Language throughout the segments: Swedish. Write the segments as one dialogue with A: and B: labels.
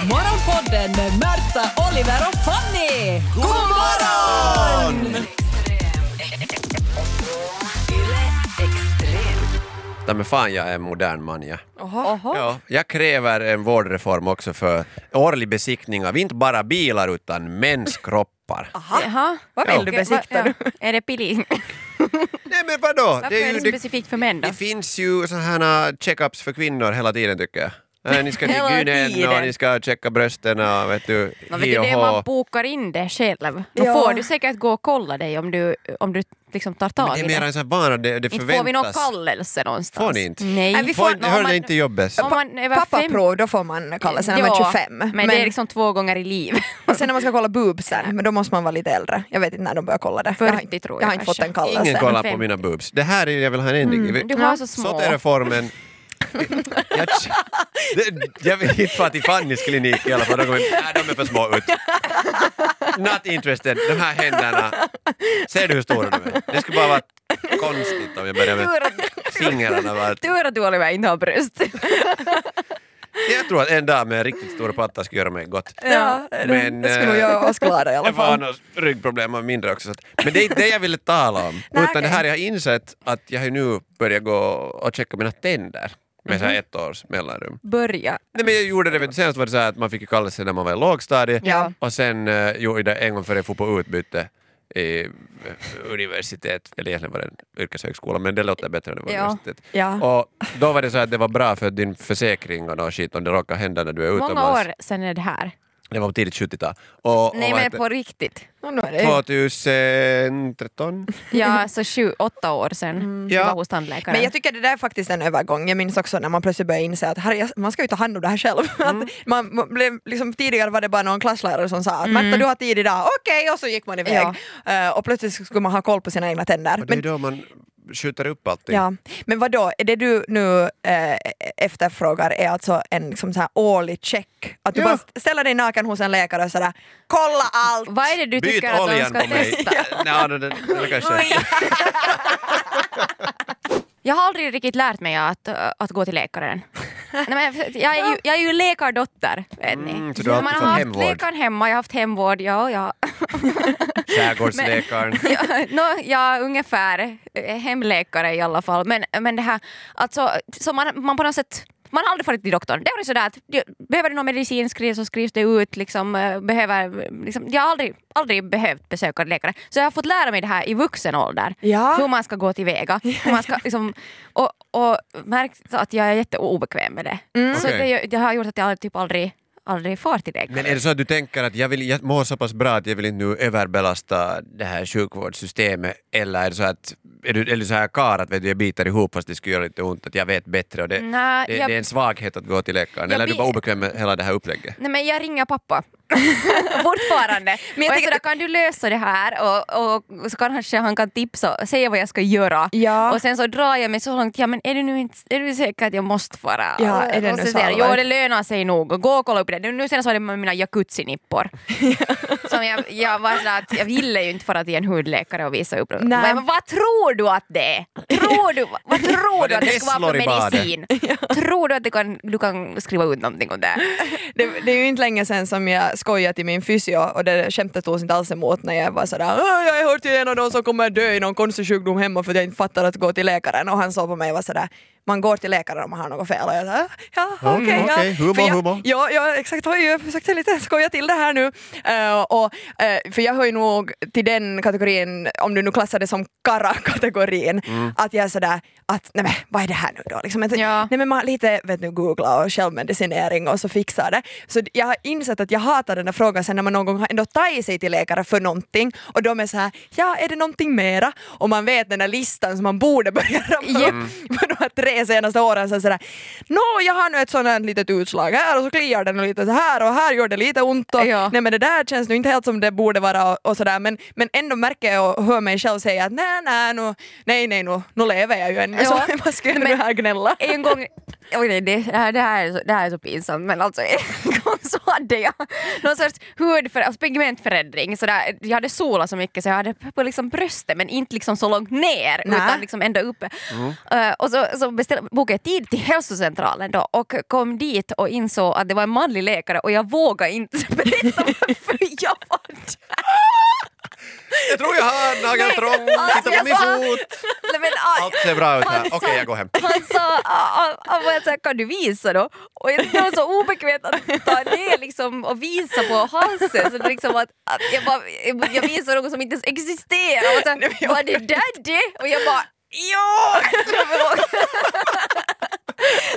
A: Morgonpodden med Märta, Oliver och Fanny! God morgon!
B: Nej men fan jag är en modern man jag.
A: Oho.
B: Ja, jag kräver en vårdreform också för årlig besiktning av inte bara bilar utan mäns kroppar.
C: Ah. Jaha.
D: Vad
B: Ja.
D: vill du besikta
C: Okej,
D: du?
C: vad- ja. Är det peeling?
B: Nej men vadå?
C: Varför
B: Det,
C: är,
B: är ju, det,
C: det specifikt för män då?
B: det finns ju sådana checkups för kvinnor hela tiden tycker jag. Nej, ni ska till
D: Hela
B: gynen och
D: tiden.
B: ni ska checka brösten och vet du,
C: Man vet
B: hi
C: ju
B: och
C: det, man
B: hå.
C: bokar in det själv. Då
D: Ja.
C: får du säkert gå och kolla dig om du, om du liksom tar
B: Men
C: tag
B: det
C: i
B: är
C: det.
B: mer en sån här vana, det, det
C: Inte får vi någon
B: förväntas.
C: kallelse någonstans.
B: Får ni inte?
C: Nej.
D: Nej, vi
B: Får
D: får-
B: inte,
C: om
B: hör
C: man-
B: det inte i jobbet?
C: Om man är över fem...
D: Pappaprov, då får man kalla sig när man
C: Ja,
D: är 25.
C: Men, det är liksom två gånger i livet.
D: och sen när man ska kolla boobsen, men då måste man vara lite äldre. Jag vet inte när de börjar kolla det. Jag har,
C: 40 tror
D: jag
C: jag
D: har inte fått
C: kanske.
D: en kallelse.
B: Ingen kollar på
C: Fem. Mm,
B: mina boobs. Det här är jag vill ha en ändring i. Vi-
C: Du har så små.
B: SOTE-reformen... Jag, det, jag vill inte fara till Fannys klinik i alla fall, de, kommer, nej, de är för små ut. Not interested, de här händerna. Ser du hur stora de är? Det skulle bara vara konstigt om jag började med
C: Tur att-
B: fingrarna. Var.
C: Tur att du Oliver inte har bröst.
B: Jag tror att en dag med riktigt stora patta skulle göra mig gott.
D: Ja,
B: Men,
D: Mm,
B: eh,
D: det skulle nog göra oss glada i alla
B: Jag var
D: fall.
B: annars ryggproblem av mindre också. Så att, men det är inte det jag ville tala om.
D: Nej,
B: utan det
D: okej.
B: här jag har insett att jag har ju nu börjat gå och checka mina tänder med
D: Mhm.
B: så här ett års mellanrum.
D: Börja.
B: Nej, men jag gjorde det, vet du, senast var det så här att man fick ju kalla sig när man var i lågstadiet
D: Ja.
B: och sen uh, gjorde jag det en gång före jag for på utbyte i eh, universitet, eller egentligen var det en yrkeshögskola, men det låter bättre än det var
C: Ja.
B: universitet.
D: Ja.
B: Och då var det så här att det var bra för din försäkring och någon skit om det råkar hända när du är utomlands.
C: Många år sen är det här.
B: Det var på tidigt 70-tal. Och, och
C: Nej
B: vad
C: men
B: heter-
C: på riktigt.
D: Och nu är det.
B: 2013?
C: Ja, så sju, åtta år sen du
B: Ja.
C: var hos tandläkaren.
D: Men jag tycker det där är faktiskt en övergång. Jag minns också när man plötsligt började inse att herre, jag- man ska ju ta hand om det här själv.
C: Mm.
D: Att man, man blev, liksom, tidigare var det bara någon klasslärare som sa att Märta du har tid idag, okej, och så gick man iväg.
C: Mm. Ja.
D: Eh, och plötsligt skulle man ha koll på sina egna tänder.
B: Och det är
D: Men,
B: ju då man skjuter upp allting.
D: ja. Men vadå, är det du nu eh, efterfrågar är alltså en liksom, så här årlig check? Att du
B: Ja.
D: bara st- ställer dig naken hos en läkare och sådär, kolla allt!
C: Vad är det du
B: Byt
C: tycker att de
B: oljan
C: ska
B: på mig!
C: testa?
B: Nej, det, det, det kanske.
C: Jag har aldrig riktigt lärt mig att, att gå till läkaren. Nej, men för- jag, är ju, jag är ju läkardotter. Vet ni.
B: Mm, så du har
C: man
B: alltid
C: har
B: fått
C: haft
B: hemvård.
C: läkaren hemma, jag har haft hemvård. Ja, ja.
B: Skärgårdsläkaren.
C: no, ja, ungefär eh, hemläkare i alla fall. Men, men det här, alltså, så man, man på något sätt man har aldrig farit till doktorn. Det har varit sådär att du- behöver du någon medicin skrivs så skrivs det ut. Liksom, eh, behöver, liksom, jag har aldrig, aldrig behövt besöka en läkare. Så jag har fått lära mig det här i vuxen ålder.
D: Ja.
C: Hur man ska gå tillväga. Hur man ska, liksom, och, och märkt att jag är jätteobekväm med det. Så
B: Okej.
C: det, gör- det har gjort att jag typ aldrig, aldrig far till läkaren.
B: Men är det så att du tänker att jag, vill, jag mår så pass bra att jag vill inte nu överbelasta det här sjukvårdssystemet eller är det så att är du, är du så här kar att vet du, jag biter ihop fast det skulle göra lite ont, att jag vet bättre och det,
C: Nej,
B: det,
C: jag-
B: det är en svaghet att gå till läkaren?
C: Jag
B: Eller är du
C: bi-
B: bara obekväm med hela det här upplägget?
C: Nej men jag ringer pappa. Fortfarande. Men jag
D: tänker-
C: tänker, kan du lösa det här? Och, och så kanske han kan tipsa och säga vad jag ska göra.
D: Ja.
C: Och sen så drar jag mig så långt, ja men är du nu inte, är du säker att jag måste fara?
D: Ja, är det
C: och
D: nu
C: så
D: så
C: säger jag,
D: allvarligt?
C: jo det lönar sig nog, gå och kolla upp det. Nu nu senast var det med mina jacuzzi-nippor. Som jag, jag var sådär att jag ville ju inte fara till en hudläkare och visa upp det.
D: Nej.
C: Men vad tror du att det är? Tror du, vad tror
B: Var
C: du
B: det
C: att det ska vara
B: nässlor i
C: för
B: badet?
C: medicin? Tror du att du kan, du kan skriva ut någonting om det? här?
D: Det, det är ju inte länge sedan som jag skojade till min fysio och det skämtet togs inte alls emot när jag var sådär "Åh, jag hör till en av dem som kommer dö i någon konstig sjukdom hemma för att jag inte fattar att gå till läkaren och han såg på mig och var sådär man går till läkaren om man har något fel och jag sa ja okej.
B: Mm, okej.
D: ja.
B: Humor,
D: För jag,
B: humor.
D: Ja, ja exakt, oj, jag försökte lite skoja till det här nu. Eh, och, eh, för jag hör ju nog till den kategorin, om du nu klassar det som kara-kategorin,
B: Mm.
D: att jag är sådär att nej men vad är det här nu då? Liksom, att,
C: Ja.
D: Nej men man har lite vet nu, googla och självmedicinering och så fixar det. Så d- jag har insett att jag hatar den här frågan sen när man någon gång har ändå tagit sig till läkare för någonting och de är så här, ja är det någonting mera? Och man vet den där listan som man borde börja rabbla upp på de här tre senaste åren. Så är det sådär, nå jag har nu ett sånt här litet utslag här och så kliar den lite så här och här gör det lite ont och
C: Ja.
D: nej men det där känns nu inte helt som det borde vara och, och sådär men, men ändå märker jag och hör mig själv säga att nej nej nu, nej nej nu, nu lever jag ju ännu så
C: Ja.
D: vad ska jag nu
C: Men-
D: här gnälla?
C: en gång Oj, nej, det, det, här, det, här är så, det här är så pinsamt men alltså en gång så hade jag någon sorts hudför, alltså pigmentförändring. Så där, jag hade solat så mycket så jag hade på liksom bröstet men inte liksom så långt ner
D: Nä.
C: utan liksom ända uppe.
D: Mm.
C: Eh, och så, så beställ, bokade jag tid till hälsocentralen då och kom dit och insåg att det var en manlig läkare och jag vågade inte berätta varför jag var där.
B: Jag tror jag har nageltrång, titta
C: alltså,
B: på
C: jag
B: min
C: sa-
B: fot.
C: Nej, men, ah,
B: Allt ser bra ut här.
C: Han
B: Okej,
C: sa-
B: jag går hem.
C: Han sa, ah, ah, ah, så här, kan du visa då? Och jag tyckte det var så obekvämt att ta ner liksom, och visa på halsen. Så det liksom att, att jag, bara, jag visar något som inte ens existerar. Och så, här, var det där det? Och jag bara, ja!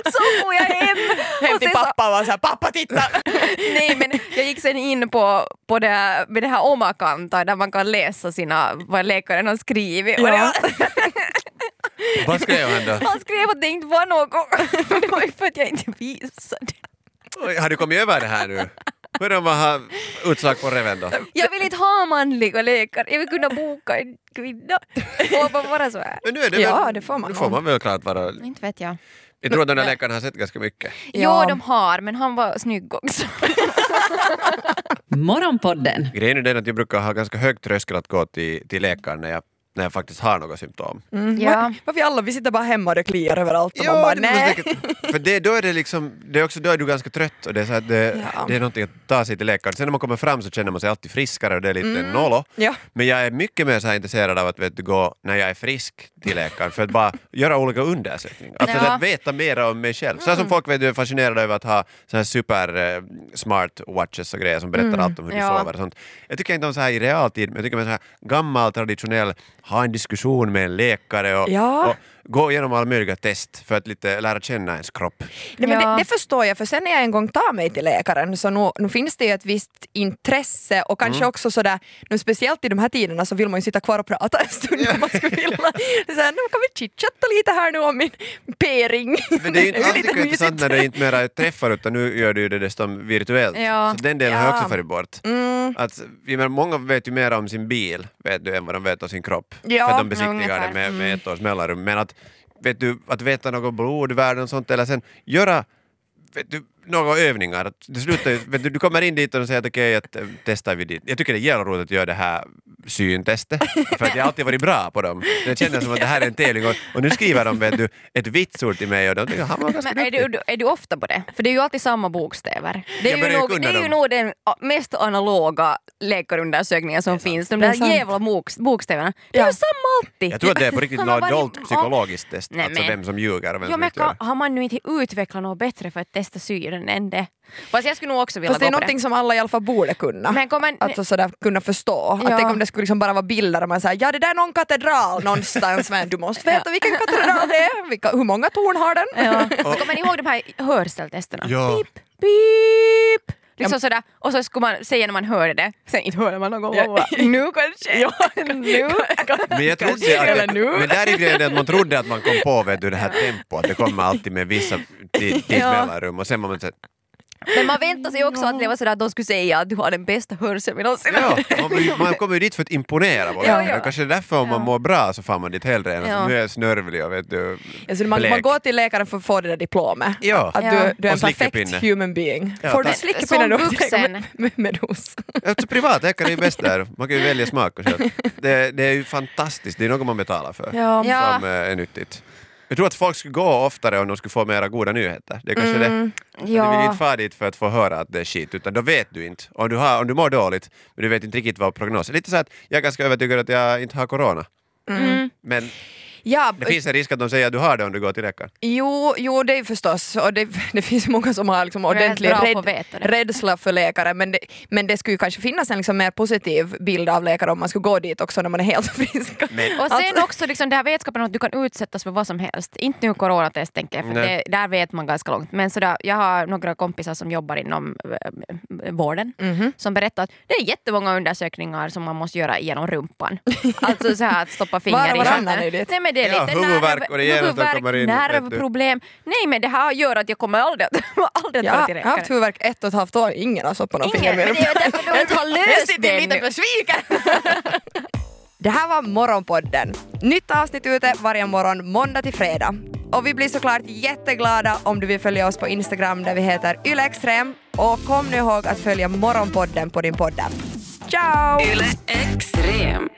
C: så får jag hem.
D: Hem
C: Och
D: till
C: sen så-
D: pappa och var såhär, pappa titta!
C: Nej men jag gick sen in på, på det här, med det här omakanta där man kan läsa sina, vad läkaren har skrivit. Och det var,
D: Ja.
B: Vad skrev han då?
C: han skrev att det inte var något. Men det var ju för att jag inte visade.
B: Oj, Har du kommit över det här nu? Hur är det om man har utslag på reven då?
C: Jag vill inte ha manliga läkare, jag vill kunna boka en kvinna. Får man vara så här?
B: Men nu är det
D: Ja,
B: väl,
D: det får man
B: Nu får
D: ha.
B: man väl klart vara...
C: Inte vet jag.
B: Jag tror att den här läkaren har sett ganska mycket.
D: Ja.
C: Jo, de har, men han var snygg också.
A: Morgonpodden
B: Grejen är den att jag brukar ha ganska hög tröskel att gå till, till läkaren när jag, när jag faktiskt har några symptom.
D: Mm.
C: Ja.
D: Varför alla, vi sitter bara hemma och det kliar överallt och man bara
B: det är
D: nej.
B: säkert- för det, då är det liksom, det är också, då är du ganska trött och det är, så att det,
D: Ja.
B: det är någonting att ta sig till läkaren. Sen när man kommer fram så känner man sig alltid friskare och det är lite
D: Mm.
B: nollo.
D: Ja.
B: Men jag är mycket mer så här intresserad av att vet du, gå när jag är frisk till läkaren för att bara göra olika undersökningar. Alltså
C: Ja.
B: så att veta mera om mig själv. Så här som folk vet, du är fascinerade över att ha så här super eh, smart watches och grejer som berättar allt om hur
C: Ja.
B: du sover och sånt. Jag tycker inte om så här i realtid, men jag tycker om så här gammal traditionell, ha en diskussion med en läkare och,
D: Ja.
B: och gå igenom alla möjliga test för att lite lära känna ens kropp.
D: Nej, men
C: Ja.
D: det, det förstår jag, för sen när jag en gång tar mig till läkaren så nu, nu finns det ju ett visst intresse och kanske
B: Mm.
D: också sådär, nu speciellt i de här tiderna så vill man ju sitta kvar och prata en stund om man skulle vilja. Så här, nu kan vi chitchatta lite här nu om min p-ring.
B: Men det är ju inte
D: ju
B: alltid
D: lite
B: intressant
D: mysigt.
B: när det inte mera träffar utan nu gör du ju det dessutom virtuellt.
C: Ja.
B: Så den delen har jag
D: Ja.
B: också farit bort.
D: Mm.
C: Mm.
B: Att, jag menar, många vet ju mer om sin bil vet du, än vad de vet om sin kropp.
D: Ja,
B: för att de besiktigar
C: ungefär. Mm.
B: den med, med ett års mellanrum. Men att, vet du, att veta något blodvärde och sånt eller sen göra vet du, några övningar. Att Det slutar, ju- vet du, du kommer in dit och säger att okej, att, eh, testar vi dit. Jag tycker det är jävla roligt att göra det här syntestet, för att jag har alltid varit bra på dem. Det känns som att det här är en tävling och, och nu skriver de vet du, ett vitsord till mig och de tycker han var ganska
C: Men är
B: duktig.
C: du, är du ofta på det? För det är ju alltid samma bokstäver. Det
B: Jag
C: är, ju
B: börjar ju
C: nog,
B: kunna
C: det är ju
B: dem.
C: nog den ah, mest analoga läkarundersökningen som finns. De
D: Det är
C: där
D: sant.
C: jävla boks- bokstäverna. Det är
D: Ja.
C: ju samma alltid.
B: Jag tror att det är på riktigt
C: Han har
B: något
C: varit-
B: dolt psykologiskt test,
C: Nej,
B: alltså
C: men-
B: vem som ljuger och vem
C: Ja,
B: som
C: men
B: inte gör
C: kan,
B: det.
C: har man nu inte utvecklat något bättre för att testa synen än det? Fast jag skulle nog också vilja
D: Fast det är
C: gå på det.
D: någonting som alla i alla fall borde kunna.
C: Men kommer,
D: Alltså sådär kunna förstå.
C: Ja.
D: Att tänk om det skulle liksom bara vara bilder och man säger ja det där är någon katedral någonstans men du måste veta vilken katedral det är, vilka, hur många torn har den?
C: ja. Men kommer ni ihåg de här hörseltesterna?
B: Ja.
C: Pip, pip. Liksom sådär. Och så skulle man säga när man hörde det, sen inte hörde man något. Man bara, nu kanske. Ja, nu.
B: Men jag trodde att,
C: Eller nu.
B: men där är grejen att man trodde att man kom på vet du, det här tempot, det kommer alltid med vissa ti- tidsmellanrum och sen var man såhär,
C: Men man väntade sig också att det var sådär att de skulle säga att du har den bästa hörseln vi någonsin
B: Ja,
C: haft.
B: man, blir- man kommer ju dit för att imponera på
C: Ja,
B: läkaren.
C: ja.
B: Kanske det är därför om man
C: Ja.
B: mår bra så får man dit hellre än att
C: Ja.
B: nu är jag snörvlig och vet du,
D: Alltså, man, man
B: blek.
D: går till läkaren för att få det där diplomet.
B: Ja.
D: Att
C: Ja.
D: du, du är en
B: Och slickepinne.
D: perfekt human being.
B: Ja,
D: Får du
B: tack.
D: slickepinne
C: Som
D: då?
C: vuxen.
D: Med, med, med dos.
B: Alltså, privat läkare är ju bäst där. Man kan ju välja smak och sånt. Det, det är ju fantastiskt, det är något man betalar för.
D: Ja.
C: Ja.
B: Som eh, är nyttigt. Jag tror att folk skulle gå oftare om de skulle få mera goda nyheter. Det är kanske det. Men Du vill ju inte fara dit för att få höra att det är skit, utan då vet du inte. Om du, har, om du mår dåligt, men du vet inte riktigt vad prognosen är. Lite så att jag är ganska övertygad att jag inte har corona.
C: Mm.
B: Men
D: Ja,
B: det finns en risk att de säger att du har det om du går till läkaren.
D: jo, jo, det är förstås. Och det, det finns många som har liksom
C: är
D: ordentlig
C: bra på att
D: rädd,
C: veta det.
D: rädsla för läkare. Men det, men det skulle ju kanske finnas en liksom mer positiv bild av läkare om man skulle gå dit också när man är helt frisk.
B: Men-
C: Och sen
D: Alltså-
C: också liksom det här vetskapen om att du kan utsättas för vad som helst. Inte nu coronatest tänker jag, för
B: Nej.
C: det, där vet man ganska långt. Men sådär, jag har några kompisar som jobbar inom äh, vården
D: Mhm.
C: som berättar att det är jättemånga undersökningar som man måste göra genom rumpan. alltså så här att stoppa finger
D: Var och
C: i
D: varannan
C: handen.
D: är det.
C: Nej men det är
B: Ja,
C: lite
B: huvudvärk
C: nerv,
B: och det ger att de
C: huvudvärk,
B: kommer in, vet du.
C: nervproblem. Nej men det här gör att jag kommer aldrig att, aldrig
D: Jag
C: att gå
D: har
C: till
D: jag har haft
C: läkaren.
D: huvudvärk ett och ett halvt år, ingen har stoppat någon
C: Ingen,
D: finger
C: men det
D: med
C: är därför du inte har löst
D: sitter
C: det
D: lite
C: ännu.
D: Det här var Morgonpodden. Nytt avsnitt ute varje morgon måndag till fredag. Och vi blir såklart jätteglada om du vill följa oss på Instagram där vi heter ylextrem. Och kom nu ihåg att följa Morgonpodden på din poddapp. Ciao!
E: Yle Extrem.